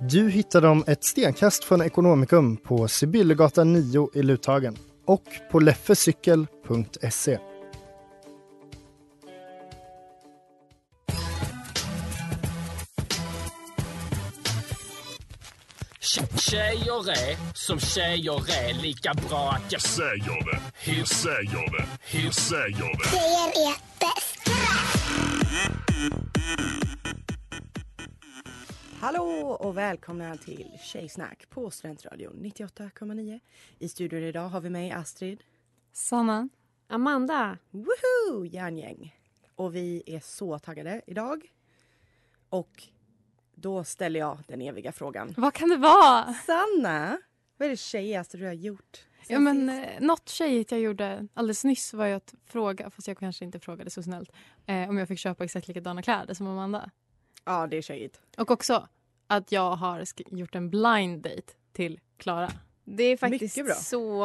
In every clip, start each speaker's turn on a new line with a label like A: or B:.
A: Du hittar dem ett stenkast från Ekonomikum på Sibyllegatan 9 i Luthagen och på leffecykel.se.
B: Tjejer är som tjejer är lika bra att jag säger det. Hur säger det? Hur säger det?
C: Tjejer är bäst.
D: Hallå och välkomna till Tjejsnack på Studentradion 98,9. I studion idag har vi med Astrid,
E: Sanna. Amanda.
D: woho, järngäng. Och vi är så taggade idag. Och då ställer jag den eviga frågan.
F: Vad kan det vare?
D: Sanna, vad är det tjejigaste du har gjort? sen
F: Ja, men,
D: sist?
F: eh, något tjejigt jag gjorde alldeles nyss var ju att fråga, fast jag kanske inte frågade så snällt, eh, om jag fick köpa exakt likadana kläder som Amanda. eh,
D: Ja, det är tjejigt.
F: Och också att jag har sk- gjort en blind date till Klara.
E: Det är faktiskt
D: Mycket bra.
E: så...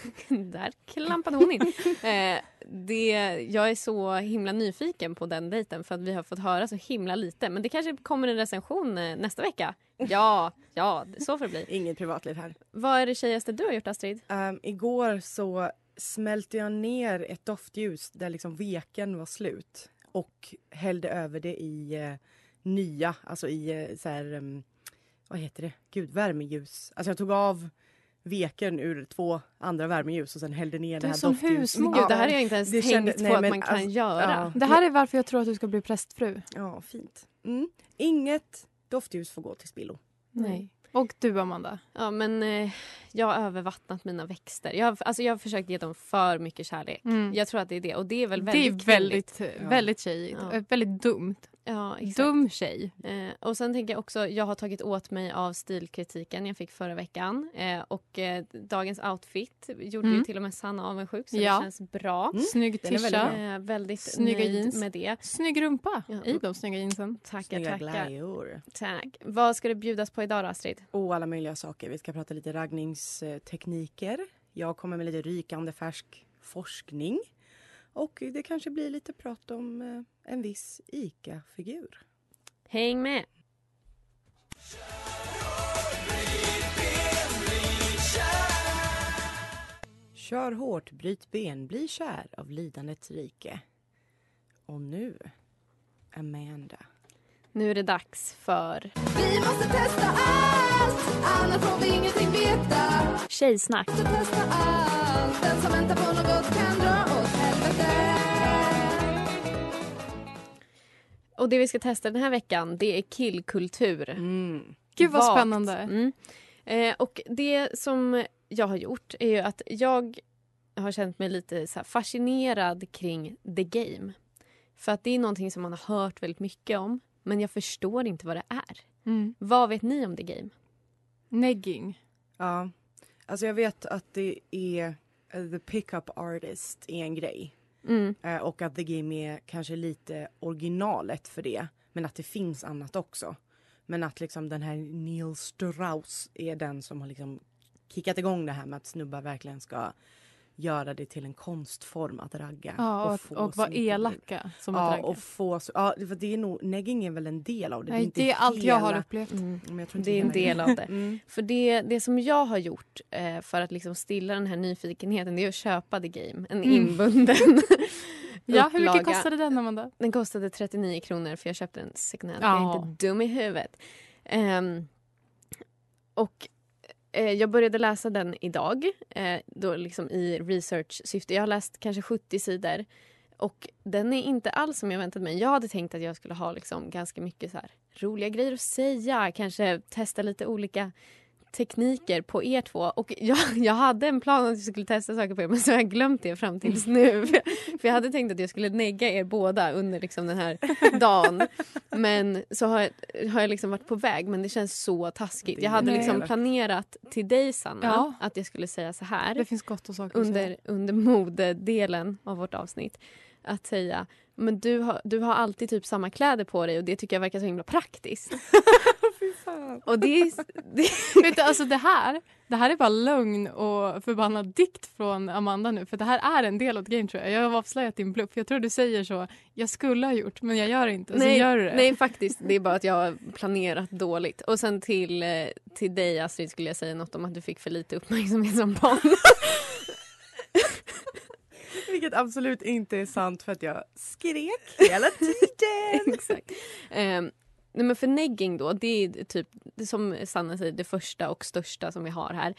E: Där klampade hon in. eh, det, jag är så himla nyfiken på den dejten för att vi har fått höra så himla lite. Men det kanske kommer en recension eh, nästa vecka. Ja, ja, så får det bli.
D: Inget privatliv här.
E: Vad är det tjejigaste du har gjort, Astrid?
D: Ehm, igår så smälte jag ner ett doftljus där liksom veken var slut och hällde över det i eh, nya, alltså i eh, så här, ehm, vad heter det, gud värmeljus. Alltså jag tog av veken ur två andra värmeljus och sen hällde ner det
F: är
D: här
F: som
D: doftljus.
F: husmor.
E: Gud,
D: Ja,
E: det här har jag inte ens
D: det
E: tänkt
D: kände-
E: på
D: nej,
E: att
D: men
E: man kan
D: alltså-
E: göra.
D: ja.
F: Det här är varför jag tror att du ska bli prästfru.
D: ja, fint. Mm. Inget doftljus får gå till spillo.
F: Nej. Och du, Amanda.
E: Ja, men eh, jag har övervattnat mina växter. Jag har, alltså, jag har försökt ge dem för mycket kärlek.
F: Mm.
E: Jag tror att det är det. Och det är väl
F: Det är
E: väldigt kvinnligt.
F: väldigt,
D: Ja.
F: väldigt tjejigt.
E: Ja.
F: Eh, Väldigt dumt.
E: Ja, exakt.
F: Dum tjej.
E: Eh, och sen tänker jag också, jag har tagit åt mig av stilkritiken jag fick förra veckan. Eh, och eh, dagens outfit gjorde
F: Mm.
E: ju till och med Sanna avundsjuk så
F: Ja.
E: det känns bra.
D: Mm.
F: Snygg
D: Den är väldigt
F: tisha.
D: bra.
E: Eh, väldigt
F: Snygga
E: nöjd
F: jeans.
E: med det.
F: Snygg rumpa
E: Ja.
F: i de snygga jeansen.
E: Tackar,
D: Snygga
E: tackar.
D: glajjor.
E: Tack. Vad ska det bjudas på idag då, Astrid?
D: Och alla möjliga saker. Vi ska prata lite raggningstekniker. Jag kommer med lite rykande färsk forskning. Och det kanske blir lite prat om eh, en viss ICA-figur.
E: Häng med!
D: Kör hårt, bryt ben, bli kär av lidandets rike. Och nu, Amanda.
E: Nu är det dags för
C: Vi måste testa allt, annars får vi ingenting veta.
E: Tjejsnack.
C: Vi måste testa allt, den som väntar på något kan dra åt helvete.
E: Och det vi ska testa den här veckan det är killkultur.
D: Mm.
F: Gud vad
E: Vagt.
F: spännande.
E: Mm. Eh, och det som jag har gjort är ju att jag har känt mig lite så här fascinerad kring the game. För att det är någonting som man har hört väldigt mycket om men jag förstår inte vad det är.
F: Mm.
E: Vad vet ni om the game?
F: Negging.
D: Ja, alltså jag vet att det är eh, the pickup artist är en grej.
E: Mm.
D: Eh, Och att The Game är kanske lite originalet för det. Men att det finns annat också. Men att liksom den här Neil Strauss är den som har liksom kickat igång det här med att snubbar verkligen ska göra det till en konstform att ragga.
F: Ja, och, att-
D: få
F: och vara
D: sin figur.
F: elaka som ett
D: Ja,
F: raggar.
D: och få, så, ja, för det är nog, negging är väl en del av det.
F: Nej,
D: inte
F: det är allt jag har
D: hela-
F: upplevt.
E: Mm.
D: Men jag tror inte
E: Det är en
D: hela
E: del av det.
D: Mm.
E: För det, det som jag har gjort eh, för att liksom stilla den här nyfikenheten det är att köpa the game, en
F: Mm.
E: inbunden
F: Ja, hur mycket
E: upplaga.
F: kostade den, Amanda?
E: Den kostade 39 kronor för jag köpte den second hand.
F: Ja.
E: Jag är inte dum i huvudet. Ehm, och eh, jag började läsa den idag, eh, då liksom i research-syfte. Jag har läst kanske 70 sidor. Och den är inte alls som jag väntat mig. Jag hade tänkt att jag skulle ha liksom ganska mycket så här roliga grejer att säga. Kanske testa lite olika tekniker på er två. Och jag, jag hade en plan att jag skulle testa saker på er men så har jag glömt det fram tills
F: Mm.
E: nu. För jag hade tänkt att jag skulle negga er båda under liksom den här dagen. Men så har jag, har jag liksom varit på väg men det känns så taskigt.
D: Det
E: Jag hade
F: är
E: liksom
D: elakt.
E: planerat till dig Sanna
F: Ja.
E: att jag skulle säga så
F: Det
E: här
F: finns gott och saker att säga.
E: under, under modedelen av vårt avsnitt. Att säga men du har, du har alltid typ samma kläder på dig och det tycker jag verkar så himla praktiskt. och det är, det
F: Vet du, alltså det här, det här är bara lögn och förbannad dikt från Amanda nu. För det här är en del av grejen tror jag. Jag har avslöjat din bluff. Jag tror du säger så. Jag skulle ha gjort men jag gör inte.
E: nej,
F: så Alltså, gör du det.
E: nej, faktiskt. Det är bara att jag har planerat dåligt. Och sen till, eh, till dig, Astrid, skulle jag säga något om att du fick för lite uppmärksamhet som barn.
D: Vilket absolut inte är sant för att jag skrek hela tiden.
E: Exakt. Ehm, nej, men för negging då, det är typ, det som Sanna säger, det första och största som vi har här.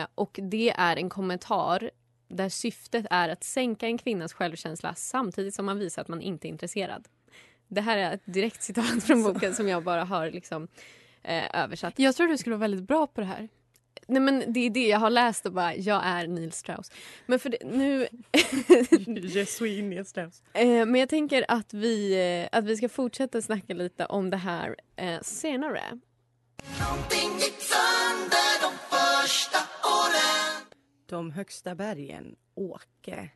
E: Eh, och det är en kommentar där syftet är att sänka en kvinnas självkänsla samtidigt som man visar att man inte är intresserad. Det här är ett direkt citat från boken som jag bara har liksom, eh, översatt.
F: Jag tror du skulle vara väldigt bra på det här.
E: Nej men det är det jag har läst och bara, jag är Neil Strauss. Men för det, nu...
D: Je suis Inger Strauss.
E: Eh, men jag tänker att vi, eh, att vi ska fortsätta snacka lite om det här eh, senare.
D: De högsta bergen, Åke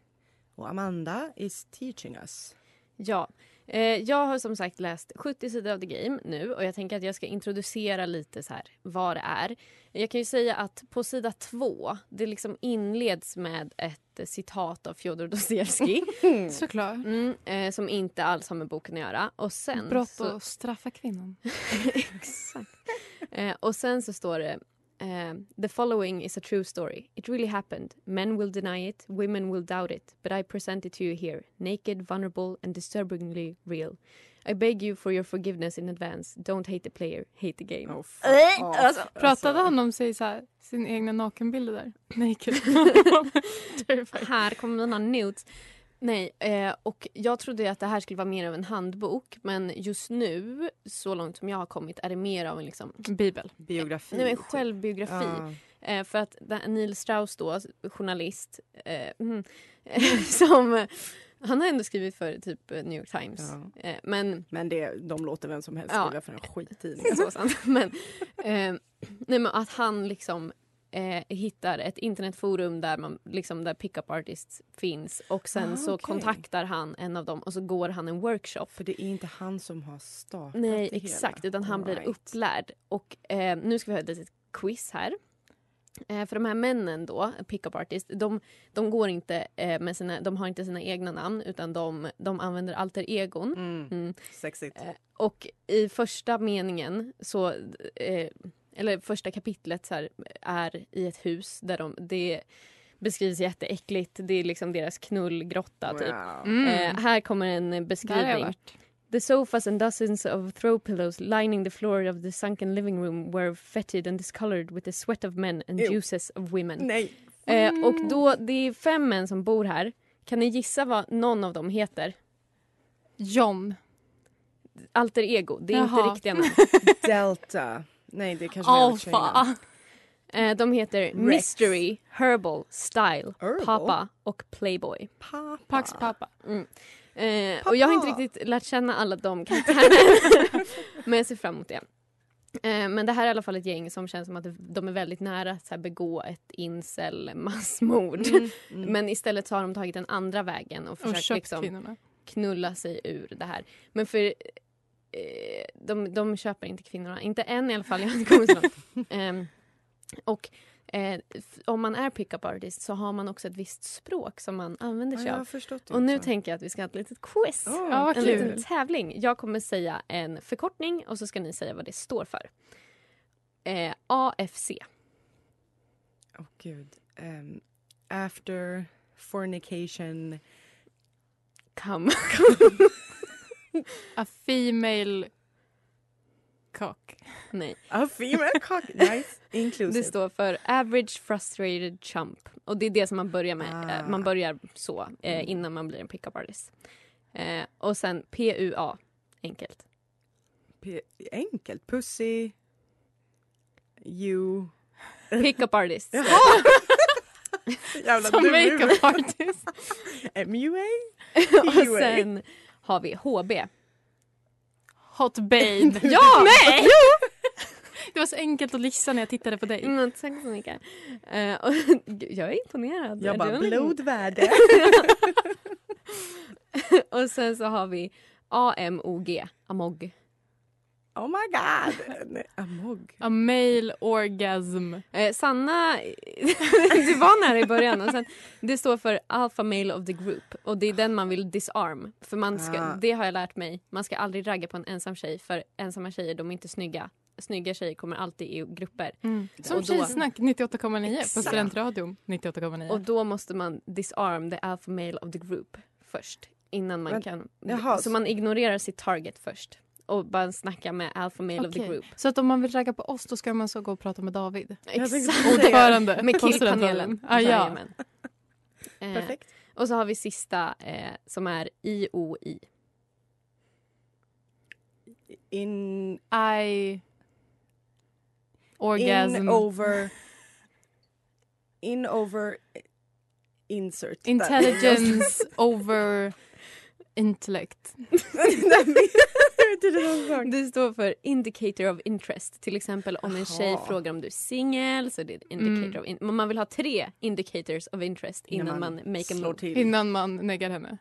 D: och Amanda is teaching us.
E: Ja. Eh, jag har som sagt läst 70 sidor av The Game nu och jag tänker att jag ska introducera lite så här vad det är. Jag kan ju säga att på sida två, det liksom inleds med ett eh, citat av Fjodor Dostojevskij
F: Såklart.
E: mm, eh, som inte alls har med boken att göra. Och sen
F: Brott
E: så-
F: och straffa kvinnan.
E: Exakt. Eh, och sen så står det eh, The following is a true story. It really happened. Men will deny it, women will doubt it. But I present it to you here, naked, vulnerable and disturbingly real. I beg you for your forgiveness in advance. Don't hate the player, hate the game.
D: Oh, fuck off.
E: alltså,
F: Pratade han om sig så här, sin egna nakenbilder där? Naked.
E: Här kommer mina nudes. Nej, eh, och jag trodde ju att det här skulle vara mer av en handbok men just nu, så långt som jag har kommit, är det mer av en liksom,
F: Bibel.
D: Biografi.
E: nej, men
D: typ.
E: självbiografi.
D: Ja.
E: Eh, för att da- Neil Strauss då, journalist, eh, mm, som... eh, Han har ändå skrivit för typ eh, New York Times. Eh, men,
D: Men det, de låter vem som helst
E: Ja.
D: skriva för en Alltså, skittidning.
E: så sant. men, eh, nej, men att han liksom eh, hittar ett internetforum där, man, liksom, där pickup artists finns och sen
D: Ah,
E: så
D: okej.
E: kontaktar han en av dem och så går han en workshop.
D: För det är inte han som har startat
E: Nej,
D: det
E: exakt.
D: hela.
E: Utan han blir
D: Right.
E: upplärd. Och eh, nu ska vi ha ett litet quiz här. Eh, för de här männen då, pickup artist, de, de går inte eh, med sina, de har inte sina egna namn utan de, de använder alter egon.
D: Mm.
E: Mm.
D: Sexigt.
E: Eh, Och i första meningen så, eh, eller första kapitlet så här, är i ett hus där de, det beskrivs jätteäckligt. Det är liksom deras knullgrotta typ.
D: Wow.
F: Mm.
E: Eh, här kommer en eh,
F: Där har jag
E: beskrivning.
F: varit.
E: The sofas and dozens of throw pillows lining the floor of the sunken living room were fetid and discolored with the sweat of men and
D: Ew.
E: juices of women.
D: Nej.
E: Eh, och då, det är fem män som bor här. Kan ni gissa vad någon av dem heter?
F: John.
E: Alter ego, det är
F: Jaha.
E: inte riktiga namn.
D: Delta. Nej, det kanske vi har
F: Alfa.
E: Eh, de heter
D: Rex.
E: Mystery, Herbal, Style,
D: Herbal?
E: Papa och Playboy.
D: Pappa.
F: Pax pappa.
E: Eh, och jag har inte
D: Pappa.
E: riktigt lärt känna alla de karaktärerna. men jag ser fram emot det. Eh, men det här är i alla fall ett gäng som känns som att de är väldigt nära att så här, begå ett incel massmord.
D: Mm.
E: Men istället så har de tagit den andra vägen och
F: Och
E: försökt
F: köpt
E: liksom,
F: kvinnorna.
E: knulla sig ur det här. Men för eh, de, de köper inte kvinnorna. Inte än i alla fall. Jag har inte kommit så långt. Ehm, och eh, f- om man är pickup artist så har man också ett visst språk som man använder
D: Ja,
E: sig
D: jag har
E: av.
D: förstått det
E: Och nu
D: också.
E: tänker jag att vi ska ha ett litet quiz.
D: typ Åh,
F: Ja, vad
E: en
F: kul.
E: liten tävling. Jag kommer säga en förkortning och så ska ni säga vad det står för. Eh, AFC.
D: Åh gud. Ehm, Oh, after fornication.
E: Come.
F: A female cock.
E: Nej.
D: A female cock, nice, inclusive.
E: Det står för average frustrated chump. Och det är det som man börjar med.
D: Ah.
E: Eh, Man börjar så eh, innan man blir en pickup artist. Eh, och sen PUA, enkelt.
D: P- enkelt. Pussy, you...
E: Pickup artist.
D: Jävla
F: Som
D: dum i huvudet.
F: makeup artist.
D: MUA?
E: och sen har vi HB.
F: Hot babe.
E: Ja! Nej!
F: Det var så enkelt att lissa när jag tittade på dig.
E: Mm, tack så mycket. Eh, och, gud, jag är imponerad.
D: Jag
E: Är
D: bara,
E: du en-
D: blodvärde.
E: Och sen så har vi AMOG, AMOG.
D: Oh my god! Nej, Amog.
F: A male orgasm.
E: Eh, Sanna, du var nära i början. Och sen, det står för Alpha Male of the Group och det är den man vill disarm. För man ska,
D: Ah.
E: Det har jag lärt mig, man ska aldrig ragga på en ensam tjej för ensamma tjejer de är inte snygga. Snygga tjejer kommer alltid i grupper.
F: Som
E: Och då-
F: Tjejsnack 98,9 på
E: Exakt.
F: Studentradion
D: Eh.
F: 98,9.
E: Och då måste man disarm the Alpha Male of the Group först. Innan man
D: Men-
E: kan...
D: Jaha.
E: Så man ignorerar sitt target först och bara snacka med Alpha Male of the
F: Okej.
E: Group.
F: Så att om man vill ragga på oss då ska man så gå och prata med David.
E: Exakt.
F: Ordförande.
E: Med
F: på Studentradion.
E: killpanelen.
F: Ah, ja.
E: Jajamän. Eh,
D: Perfekt.
E: Och så har vi sista eh, som är IOI.
D: In,
F: I... Orgasm.
D: in over... In over... Insert. där.
F: Intelligence over intellect.
E: Det står för indicator of interest. Till exempel om en tjej
D: Jaha.
E: frågar om du är singel så det är det
F: Mm.
E: indicator of in- Man vill ha tre indicators of interest innan,
D: Innan
E: man, make a
D: slår
E: move.
D: till.
F: Innan man neggar henne.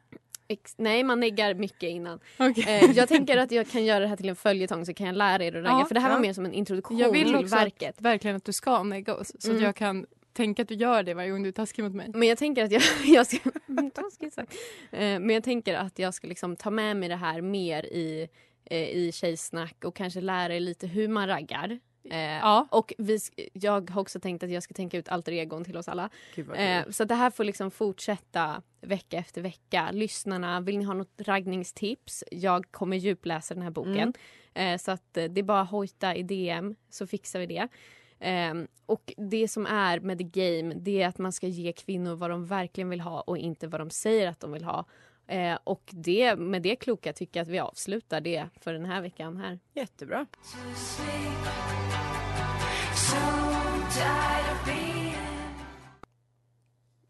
E: Ex- nej, man neggar mycket innan.
F: Okej.
E: Eh, jag tänker att jag kan göra det här till en följetong så kan jag lära er att ragga.
F: Ja,
E: för det här
D: ja.
E: var mer som en introduktion
F: Jag vill
E: till
F: också
E: verket.
F: att, verkligen att du ska negga oss så
E: Mm.
F: att jag kan tänka att du gör det varje gång du är taskig mot mig.
E: Men jag tänker att jag, jag ska... Mm, taskigt sagt. Eh, Men jag tänker att jag ska liksom ta med mig det här mer i, eh, i tjejsnack och kanske lära er lite hur man raggar. Eh,
F: Ja.
E: Och vi, sk- jag har också tänkt att jag ska tänka ut alter egon till oss alla.
D: Gud vad
E: Eh,
D: kul.
E: så det här får liksom fortsätta vecka efter vecka. Lyssnarna, vill ni ha något raggningstips? Jag kommer djupläsa den här boken. Eh, så att eh, det är bara att hojta i DM så fixar vi det. Eh, och det som är med the game det är att man ska ge kvinnor vad de verkligen vill ha och inte vad de säger att de vill ha. Eh, och det, med det kloka tycker jag att vi avslutar det för den här veckan här.
D: Jättebra.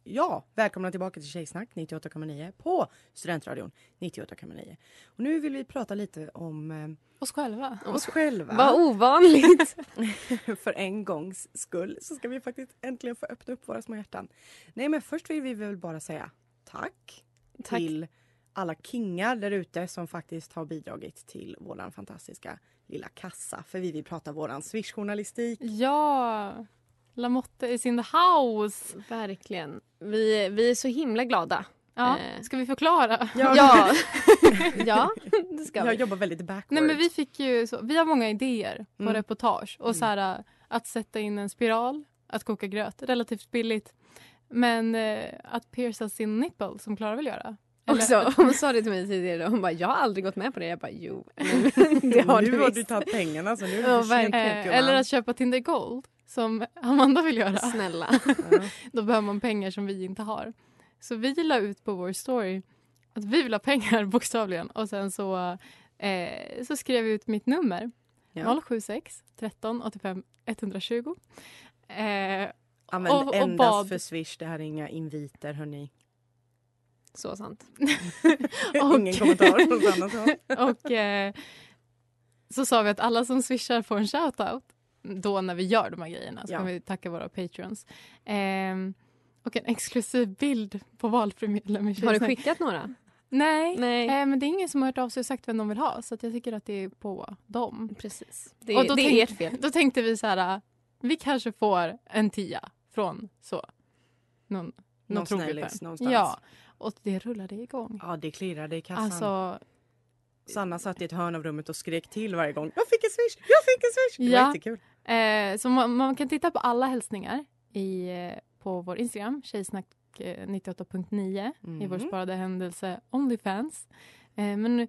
D: Ja, välkomna tillbaka till Tjejsnack 98,9 på Studentradion 98,9. Och nu vill vi prata lite om eh,
F: Oss själva.
D: oss själva.
E: Vad ovanligt!
D: för en gångs skull så ska vi faktiskt äntligen få öppna upp våra små hjärtan. Nej men först vill vi väl bara säga tack,
E: Tack.
D: till alla kingar där ute som faktiskt har bidragit till våran fantastiska lilla kassa. För vi vill prata våran swishjournalistik.
F: Ja! Lamotte is in the house.
E: Verkligen. Vi, vi är så himla glada.
F: Ja.
E: Eh.
F: Ska vi förklara?
E: Ja, ja det ska
D: Jag
E: vi.
D: jobbar väldigt backward.
F: Nej, men vi, fick ju så, vi har många idéer på
D: Mm.
F: reportage. Och så här, äh, att sätta in en spiral, att koka gröt, relativt billigt. Men eh, att pierca sin nipple, som Klara vill göra. Eller-
E: Också, hon sa det till mig tidigare, hon bara jag har aldrig gått med på det. Jag bara jo, men det har
D: Mm. nu
E: du
D: har
E: visst.
D: du tagit pengarna så nu är det
E: Ja,
D: för sent,
F: Eh,
D: gumman.
F: eller att köpa Tinder Gold, som Amanda vill göra.
E: Snälla.
D: Ja.
F: Då behöver man pengar som vi inte har. Så vi la ut på vår story att vi vill ha pengar, bokstavligen. Och sen så, eh, så skrev vi ut mitt nummer.
D: Ja.
F: 076 13 85 120. Eh,
D: Använd
F: och- och
D: endast
F: bad.
D: för swish, det här är inga inviter hörni.
E: Så sant.
D: Ingen kommentar från Sanna så.
F: Och eh, så sa vi att alla som swishar får en shoutout då när vi gör de här grejerna. Så
D: Ja.
F: kan vi tacka våra patrons. Ehm, och en exklusiv bild på valfri medlem i
E: Har du
F: Tjejsnack.
E: skickat några?
F: Nej,
E: Nej.
F: Eh, men det är ingen som har hört av sig och sagt vem de vill ha så att jag tycker att det är på dem.
E: Precis. Det,
F: Eh. Och då
E: det är
F: tänk-
E: ert fel.
F: Då tänkte vi så här, eh, vi kanske får en tia från så. Någon,
D: Någon
F: någon trogen
D: snällis
F: fan.
D: någonstans.
F: Ja, och det rullade igång.
D: Ja, det klirrade i kassan.
F: Alltså,
D: Sanna satt i ett hörn av rummet och skrek till varje gång. Jag fick en swish! Jag fick en swish! Det var
F: Ja.
D: jättekul.
F: Eh, så man, man kan titta på alla hälsningar i, eh, på vår Instagram, eh, tjejsnack98.9 i vår
D: Mhm.
F: sparade händelse Onlyfans. Eh, men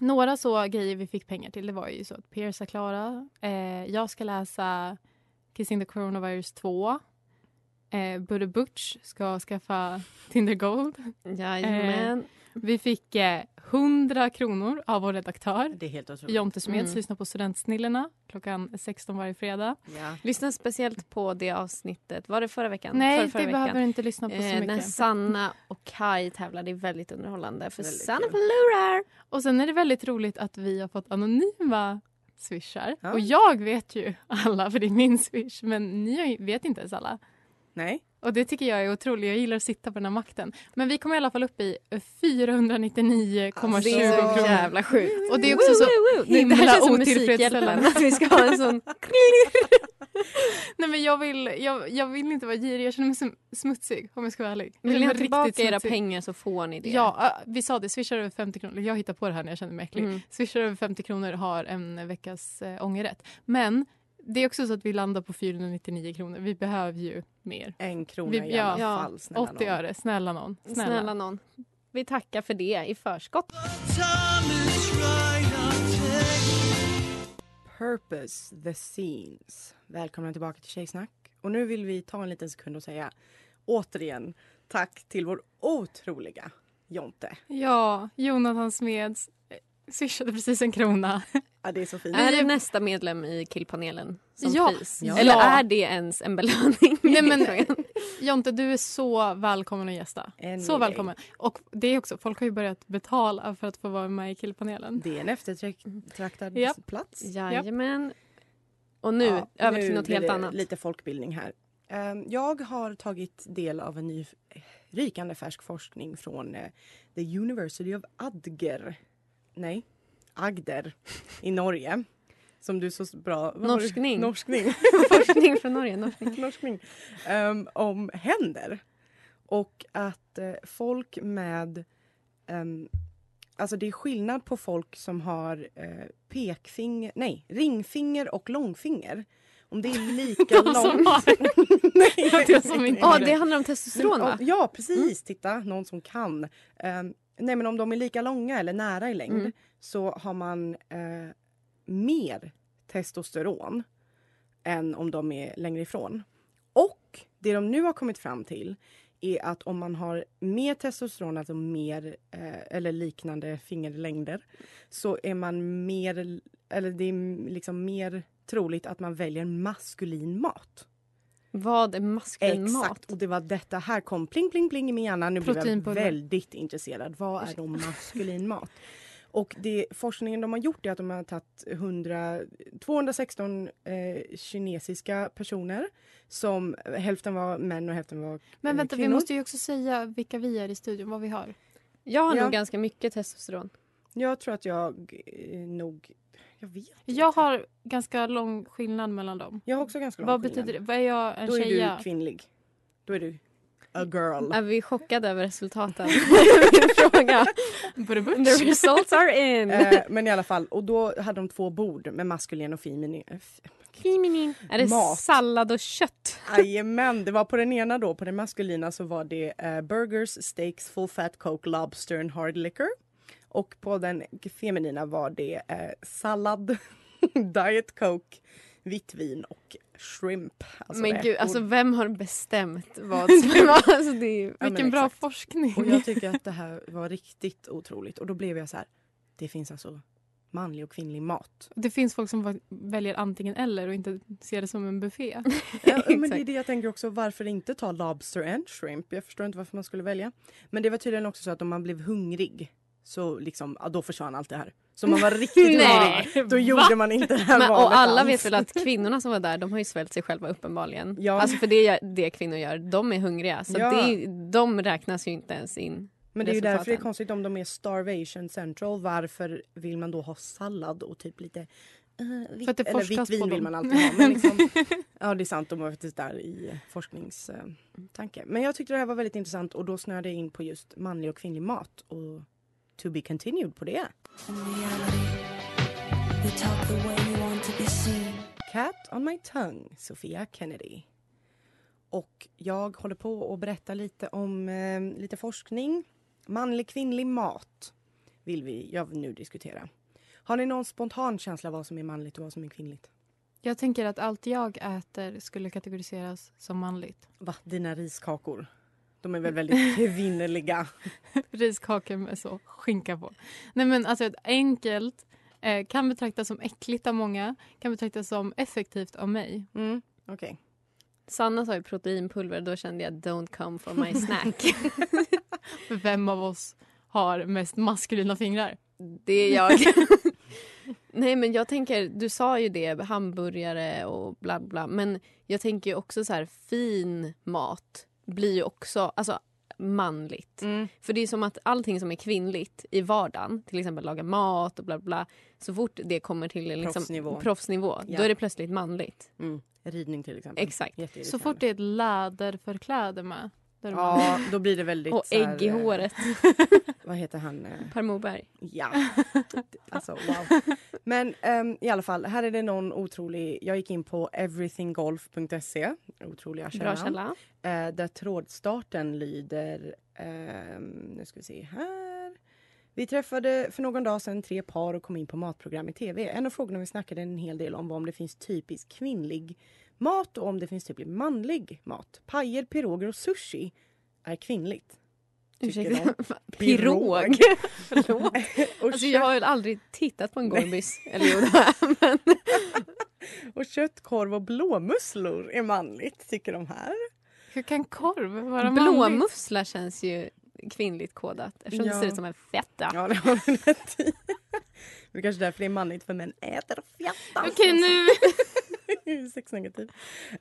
F: Några så grejer vi fick pengar till det var ju så att Pierce Klara, eh, jag ska läsa Kissing the Coronavirus 2. Eh, Budde Butch ska skaffa Tinder Gold.
E: Jajamän.
F: Vi fick eh, 100 kronor av vår redaktör
D: Det är helt otroligt.
F: Jonte Smeds.
E: Mm.
F: Lyssna på Studentsnillena klockan 16 varje fredag.
D: Ja.
E: Lyssna speciellt på det avsnittet. Var det förra veckan?
F: Nej,
E: förra,
F: det
E: förra veckan.
F: behöver du inte lyssna på så
E: Eh,
F: mycket.
E: när Sanna och Kai tävlar. Det är väldigt underhållande. För
D: Väldigt
E: Sanna
D: kul.
E: förlorar.
F: Och sen är det väldigt roligt att vi har fått anonyma swishar.
D: Ja.
F: Och jag vet ju alla, för det är min swish, men ni har ju- vet inte ens alla.
D: Nej.
F: Och det tycker jag är otroligt. Jag gillar att sitta på den här makten. Men vi kommer i alla fall upp i 499,20
D: Alltså,
E: Det är Alltså, så
F: kronor.
E: jävla sjukt.
F: Och det är också så
E: Nej, det här
F: himla
E: känns som
F: otillfredsställande.
E: Musikhjälpen, Att vi ska ha en sån...
F: Nej men jag vill, jag, jag vill inte vara girig, jag känner mig som smutsig om jag ska vara ärlig. Jag
E: Vill
F: känner
E: ni ha
F: mig
E: tillbaka
F: riktigt
E: era
F: smutsig.
E: pengar så får ni det.
F: Ja, äh, vi sa det. Swishar över 50 kronor. Jag hittar på det här när jag känner mig äcklig.
E: Mm.
F: Swishar över 50 kronor har en veckas eh, ångerrätt. Men det är också så att vi landar på 499 kronor. Vi behöver ju mer.
D: En krona
F: Vi-
D: i alla
E: ja.
D: fall. Snälla
F: 80 öre, snälla någon. Snälla.
E: Snälla någon. Vi tackar för det i förskott.
D: Purpose, the scenes. Välkomna tillbaka till Tjejsnack. Och nu vill vi ta en liten sekund och säga återigen tack till vår otroliga Jonte.
F: Ja, Jonathan Smeds eh, swishade precis en krona.
D: Ja, det är så fint.
E: Är det nästa medlem i killpanelen som
F: Ja.
E: pris?
F: Ja.
E: Eller är det ens en belöning?
F: Nej, men- Jonte, du är så välkommen att gästa.
D: Anyway.
F: Så välkommen. Och det är också, folk har ju börjat betala för att få vara med i killpanelen.
D: Det är en eftertraktad
F: Ja.
D: plats.
E: Jajamän. Och nu
D: Ja,
E: över
D: nu
E: till något
D: blir
E: helt
D: det
E: annat.
D: Lite folkbildning här. Ehm, Jag har tagit del av en ny eh, rykande färsk forskning från eh, The University of Adger. Nej, Agder i Norge. Som du så s- bra... vad var det?
E: Norskning.
D: Norskning.
E: Forskning från Norge. Norge.
D: Norskning. Ehm, om händer. Och att eh, folk med... ehm, alltså det är skillnad på folk som har eh, pekfinger, nej, ringfinger och långfinger. Om det är lika
F: De
D: långt...
F: som har...
D: nej,
F: de som inte
E: Ja,
F: har
E: det handlar om testosteron va? Mm.
D: Ja, precis. Titta, någon som kan. Ehm, nej, men om de är lika långa eller nära i längd
E: Mm.
D: så har man eh, mer testosteron än om de är längre ifrån. Och det de nu har kommit fram till är att om man har mer testosteron, alltså mer eh, eller liknande fingerlängder, så är man mer, eller det är liksom mer troligt att man väljer maskulin mat.
E: Vad är maskulin mat?
D: Exakt, och det var detta här kom pling pling pling i min hjärna. Nu blev jag
F: Proteinpulver.
D: väldigt intresserad. Vad är då maskulin mat? Och det, forskningen de har gjort är att de har tagit 100, 216 eh, kinesiska personer som hälften var män och hälften var
F: Men vänta, vi
D: Kvinnor.
F: måste ju också säga vilka vi är i studion, vad vi har.
E: Jag har
D: Ja.
E: nog ganska mycket testosteron.
D: Jag tror att jag eh, nog... Jag vet.
F: Jag har ganska lång skillnad mellan dem.
D: Jag har också ganska lång
F: Vad
D: skillnad.
F: betyder det? Vad är jag en
D: Då är
F: tjeja?
D: du kvinnlig. Då är du a girl.
E: Är vi chockade över resultaten? Min Fråga. The results are in.
F: Mm.
D: Eh, men i alla fall, och då hade de två bord med maskulin och feminin.
E: Är det
D: Mat.
E: sallad och kött?
D: Jajamän, det var på den ena då, på den maskulina så var det eh, burgers, steaks, full fat coke, lobster and hard liquor. Och på den feminina var det eh, sallad, diet coke, vitt vin och shrimp. alltså
E: men gud,
D: räkor.
E: alltså vem har bestämt vad som är vad? Alltså, det är ju...
D: Ja, men
F: Vilken bra
D: exakt.
F: forskning.
D: Och jag tycker att det här var riktigt otroligt och då blev jag så här, det finns alltså manlig och kvinnlig mat.
F: Det finns folk som va- väljer antingen eller och inte ser det som en buffé.
D: Ja, men det är
E: Exakt.
D: det jag tänker också, varför inte ta lobster and shrimp? Jag förstår inte varför man skulle välja. Men det var tydligen också så att om man blev hungrig så liksom, ja, då försvann allt det här. Så om man var riktigt hungrig,
E: Nej.
D: då gjorde man inte det här
E: Men,
D: valet
E: och alla
D: alls.
E: vet väl att kvinnorna som var där, de har ju svält sig själva uppenbarligen.
D: Ja.
E: Alltså för det är det kvinnor gör, de är hungriga. Så
D: Ja.
E: det är, de räknas ju inte ens in.
D: Men det är ju
E: resultaten.
D: därför det är konstigt om de är starvation central, varför vill man då ha sallad och typ lite eh, vitt-
F: För att det
D: eller
F: forskas
D: vitt vin
F: på
D: vill
F: dem.
D: man alltid ha. Men liksom, ja det är sant, de var faktiskt där i forskningstanke. Men jag tyckte det här var väldigt intressant och då snöade jag in på just manlig och kvinnlig mat och to be continued på det. Cat on my tongue, Sofia Kennedy. Och jag håller på att berätta lite om eh, lite forskning. Manlig kvinnlig mat. vill vi jag vill nu diskutera. Har ni någon spontan känsla vad som är manligt och vad som är kvinnligt?
F: Jag tänker att allt jag äter skulle kategoriseras som manligt.
D: Va? Dina riskakor. De är väl väldigt kvinnliga?
F: Riskakor med så skinka på. Nej men alltså ett enkelt eh, kan betraktas som äckligt av många, kan betraktas som effektivt av mig.
D: Mm, okej.
E: Sanna sa ju proteinpulver, då kände jag don't come for my snack.
F: För vem av oss har mest maskulina fingrar?
E: det är jag. Nej men jag tänker, du sa ju det, hamburgare och bla bla. Men jag tänker ju också så här, fin mat blir ju också alltså, manligt.
D: Mm.
E: För det är som att allting som är kvinnligt i vardagen, till exempel laga mat och bla bla. Så fort det kommer till liksom,
D: Proffsnivå.
E: proffsnivå,
D: Ja.
E: då är det plötsligt manligt.
D: Mm. Ridning till exempel.
E: Exakt.
F: Så fort det är ett läder för kläder med. Där man-
D: Ja, då blir det väldigt
E: Och
D: så här,
E: ägg i
D: eh,
E: håret.
D: Vad heter han? eh,
E: Per Morberg.
D: Ja. Alltså wow. Men ehm, i alla fall, här är det någon otrolig, jag gick in på everythinggolf.se, otroliga
E: Bra
D: källan.
E: källa.
D: Eh, där trådstarten lyder, ehm, nu ska vi se här. Vi träffade för någon dag sedan tre par och kom in på matprogram i tv. En av frågorna vi snackade en hel del om var om det finns typiskt kvinnlig mat och om det finns typiskt manlig mat. Pajer, piroger och sushi är kvinnligt. tycker
E: Ursäkta.
D: Pirog.
E: Pirog. Förlåt.
D: Och
E: Alltså, jag har väl aldrig tittat på en gorbis. Eller jo, det har jag. Men
D: Och köttkorv och blåmusslor är manligt, tycker de här.
F: Hur kan korv vara manligt?
E: blåmussla känns ju kvinnligt kodat eftersom
D: Ja.
E: det ser ut som en fetta.
D: Ja, det har du rätt i. Det är kanske därför det är manligt, för män äter och fjattar.
F: Okej nu!
D: Sexnegativ.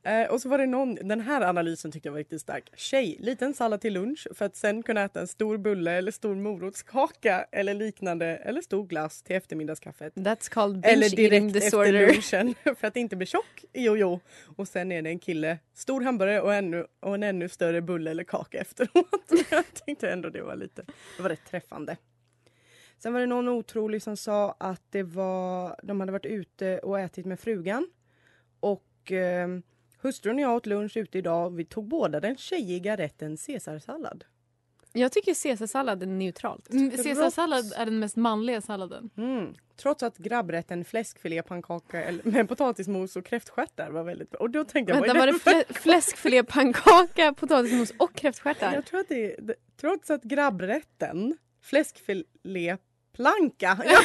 D: Eh, och så var det någon, den här analysen tyckte jag var riktigt stark. Tjej, liten sallad till lunch för att sen kunna äta en stor bulle eller stor morotskaka eller liknande eller stor glass till eftermiddagskaffet.
E: That's called binge
D: Eller
E: eating
D: direkt efter
E: disorder.
D: lunchen för att inte bli tjock. Jo, jo. Och sen är det en kille, stor hamburgare och, ännu, och en ännu större bulle eller kaka efteråt. Jag tänkte ändå det var lite, det var rätt träffande. Sen var det någon otrolig som sa att det var, de hade varit ute och ätit med frugan. Och eh, hustrun och jag åt lunch ute idag. Vi tog båda den tjejiga rätten caesarsallad.
E: Jag tycker caesarsallad är neutralt.
F: Mm, Caesarsallad är den mest manliga salladen.
D: Mm. Trots att grabbrätten fläskfilé, pannkaka eller- med potatismos och kräftstjärtar var väldigt bra. Och då tänkte jag, vad är
E: Vänta, var det
D: för-
E: flä- fläskfilé, pannkaka, potatismos och kräftstjärtar?
D: Jag tror att det är, det- trots att grabbrätten, fläskfilé, planka. Ja.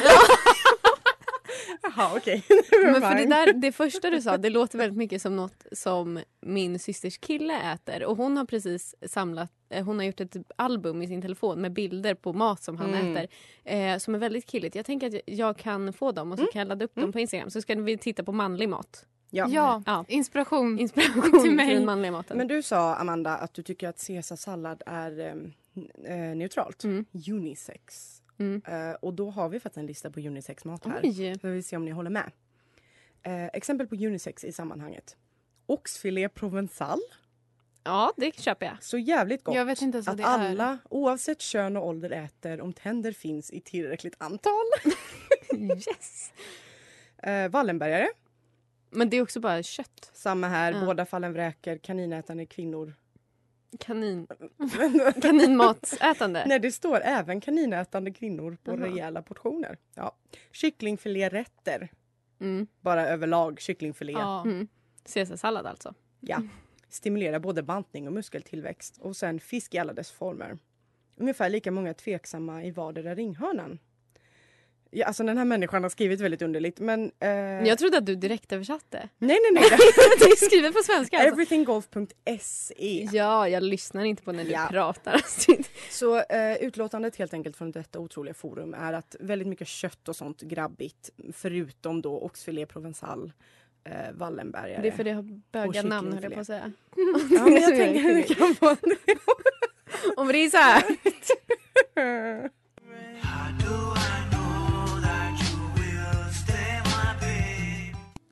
D: Jaha okej.
E: Men för det,
D: Fine.
E: där, det första du sa, det låter väldigt mycket som något som min systers kille äter. Och hon har precis samlat, eh, hon har gjort ett album i sin telefon med bilder på mat som han
D: Mm.
E: äter. Eh, som är väldigt killigt. Jag tänker att jag kan få dem och så kan jag ladda upp dem på Instagram. Så ska vi titta på manlig mat.
D: Ja.
F: Ja,
E: Ja.
F: inspiration.
E: Inspiration
F: Mm. Till
E: till
F: mig.
E: den manliga maten.
D: Men du sa Amanda att du tycker att caesarsallad är em, n- eh, neutralt.
E: Mm.
D: Unisex.
E: Mm.
D: Eh, och då har vi faktiskt en lista på unisexmat här.
E: Oj!
D: Så vi se om ni håller med. Eh, exempel på unisex i sammanhanget. Oxfilé provençal.
E: Ja, det köper jag.
D: Så jävligt gott.
F: Jag vet inte ens vad
D: att
F: det är.
D: alla, oavsett kön och ålder, äter om tänder finns i tillräckligt antal.
E: Yes!
D: Eh, Wallenbergare,
E: Men det är också bara kött.
D: samma här.
E: Ja.
D: Båda fallen vräker, kaninätande kvinnor.
E: Kanin. Kaninmatsätande.
D: Nej, det står även kaninätande kvinnor på
E: Jaha.
D: rejäla portioner. Ja. Kycklingfilérätter,
E: Mm.
D: bara överlag kycklingfilé.
F: Ja.
E: Mm. Caesarsallad alltså.
D: Ja. Stimulerar både bantning och muskeltillväxt. Och sen fisk i alla dess former. Ungefär lika många tveksamma i vardera ringhörnan. Ja, alltså den här människan har skrivit väldigt underligt men... Eh,
E: Jag trodde att du direkt översatte.
D: Nej, nej, nej. det-
E: Du skriver på svenska alltså.
D: Everythinggolf.se.
E: Ja, jag lyssnar inte på när du
D: Ja.
E: pratar Alltså, Astrid.
D: Så eh, utlåtandet helt enkelt från detta otroliga forum är att väldigt mycket kött och sånt grabbigt förutom då oxfilé provençal, eh, Wallenbergare.
E: Det är för det har
D: Och
E: böga namn höll jag på att säga.
D: ja, men jag
E: som gör det
D: tänker att det kan vara det.
E: Om det är så här.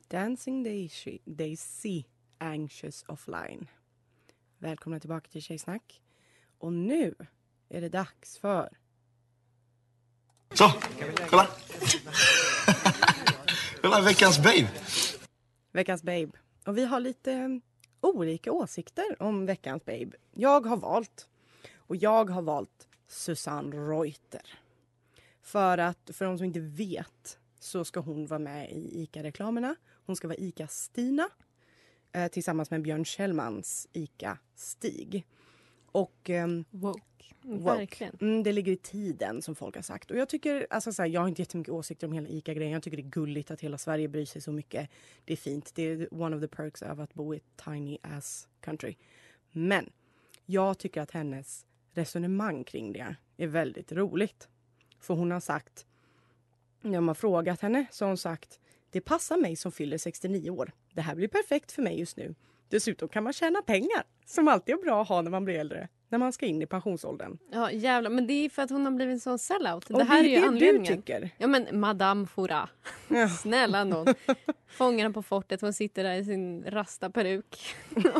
D: Dancing Daisy, Daisy Anxious Offline. Välkomna tillbaka till Tjejsnack. Och nu är det dags för
G: Så, kolla. kolla veckans babe.
D: Veckans Babe. Och vi har lite eh, olika åsikter om Veckans Babe. Jag har valt. Och jag har valt Susanne Reuter. För att, för de som inte vet, så ska hon vara med i ICA-reklamerna. Hon ska vara ICA-Stina eh, tillsammans med Björn Kjellmans ICA-Stig. Och ehm,
F: Woke.
D: Woke.
E: Verkligen.
D: Mm, det ligger i tiden som folk har sagt. Och jag tycker, alltså så här, jag har inte jättemycket åsikter om hela ICA-grejen. Jag tycker det är gulligt att hela Sverige bryr sig så mycket. Det är fint. Det är one of the perks av att bo i ett tiny ass country. Men jag tycker att hennes resonemang kring det är väldigt roligt. För hon har sagt, när man har frågat henne så har hon sagt det passar mig som fyller 69 år. Det här blir perfekt för mig just nu. Dessutom kan man tjäna pengar som alltid är bra att ha när man blir äldre. När man ska in i pensionsåldern.
E: Ja, jävlar. Men det är för att hon har blivit en sån sellout.
D: Och
E: det här är ju
D: det du
E: anledningen.
D: tycker.
E: Ja men Madame Fora.
D: Ja.
E: Snälla någon. Fångarna på fortet, hon sitter där i sin rasta peruk.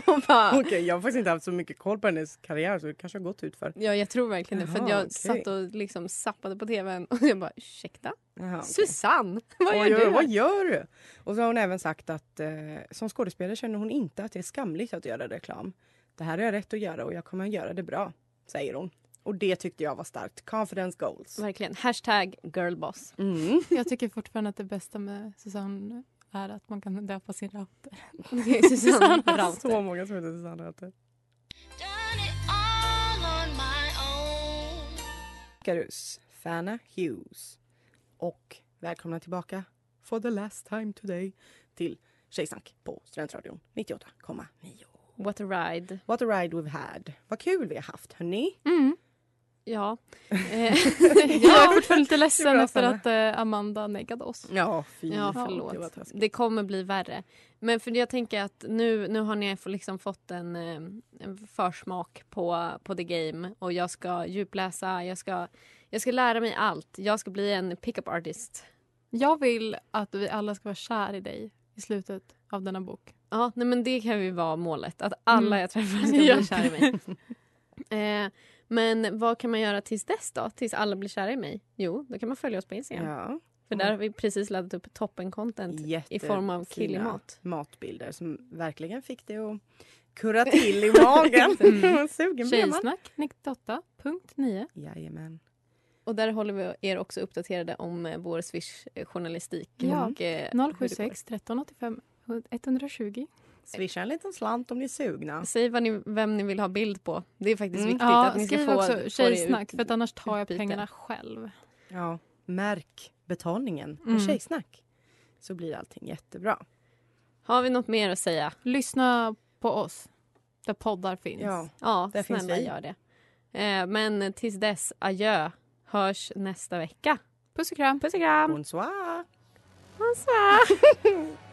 E: och bara...
D: Okej, jag har faktiskt inte haft så mycket koll på hennes karriär så det kanske har gått ut för.
E: Ja jag tror verkligen det. För att jag
D: Jaha, okej.
E: satt och liksom zappade på tvn och jag bara ursäkta?
D: Jaha, okej.
E: Susanne, vad gör
D: Oj, oj,
E: du?
D: Vad gör du? Och så har hon även sagt att eh, som skådespelare känner hon inte att det är skamligt att göra reklam. Det här har jag rätt att göra och jag kommer att göra det bra, säger hon. Och det tyckte jag var starkt. Confidence goals.
E: Verkligen. Hashtag girlboss.
D: Mm.
F: Jag tycker fortfarande att det bästa med Susanne är att man kan döpa sin router.
E: Susanne
D: Så
E: Rauter.
D: många som heter Susanne Reuter. Karus, Fana Hughes. Och välkomna tillbaka, for the last time today, till Tjejsnack på Studentradion 98,9.
E: What a ride.
D: What a ride we've had. Vad kul vi har haft, hörni.
F: Mm.
E: Ja. Eh,
F: Jag är fortfarande
D: Det
F: lite
D: är
F: ledsen
D: bra,
F: efter
D: Sanna.
F: att eh, Amanda negade oss.
D: Ja, fy.
E: Ja,
D: Det var
E: förlåt.
D: taskigt.
E: Det kommer bli värre. Men för jag tänker att nu, nu har ni liksom fått en, eh, en försmak på, på the game och jag ska djupläsa, jag ska, jag ska lära mig allt. Jag ska bli en pickup artist.
F: Jag vill att vi alla ska vara kär i dig i slutet av denna bok.
E: Ja, nej men det kan ju vara målet, att alla
F: Mm.
E: jag träffar ska
F: Ja.
E: bli kära i mig. Eh, men vad kan man göra tills dess då? Tills alla blir kära i mig? Jo, då kan man följa oss på Instagram.
D: Ja.
E: För där har vi precis laddat upp toppen-content i form av
D: Jättefina
E: killig mat.
D: matbilder som verkligen fick det att kurra till i magen.
F: Mm.
D: Sugen blev man.
F: Tjejsnack 98.9.
D: Jajamän.
E: Och där håller vi er också uppdaterade om eh, vår Swish-journalistik.
F: Ja.
E: Och, eh, hur det
F: 076 1385 120.
D: Swisha en liten slant om ni är sugna.
E: går. Säg vad ni, vem ni vill ha bild på. Det är faktiskt
D: Mm.
E: viktigt
F: Ja,
E: att ni ska
F: skriv
E: få, få
F: också tjejsnack
E: det
F: för
E: ut.
F: att annars tar jag
E: utbyte.
F: pengarna själv.
D: Ja. Märk betalningen och
F: Mm.
D: tjejsnack. Så blir allting jättebra.
E: Har vi något mer att säga?
F: Lyssna på oss, där poddar finns.
D: Ja.
E: Ja,
D: Där finns
E: snälla
D: vi.
E: gör det. Eh, men tills dess, adjö. Hörs nästa vecka.
F: Puss och kram.
E: Puss och kram!
D: Bonsoir!
E: Bonsoir.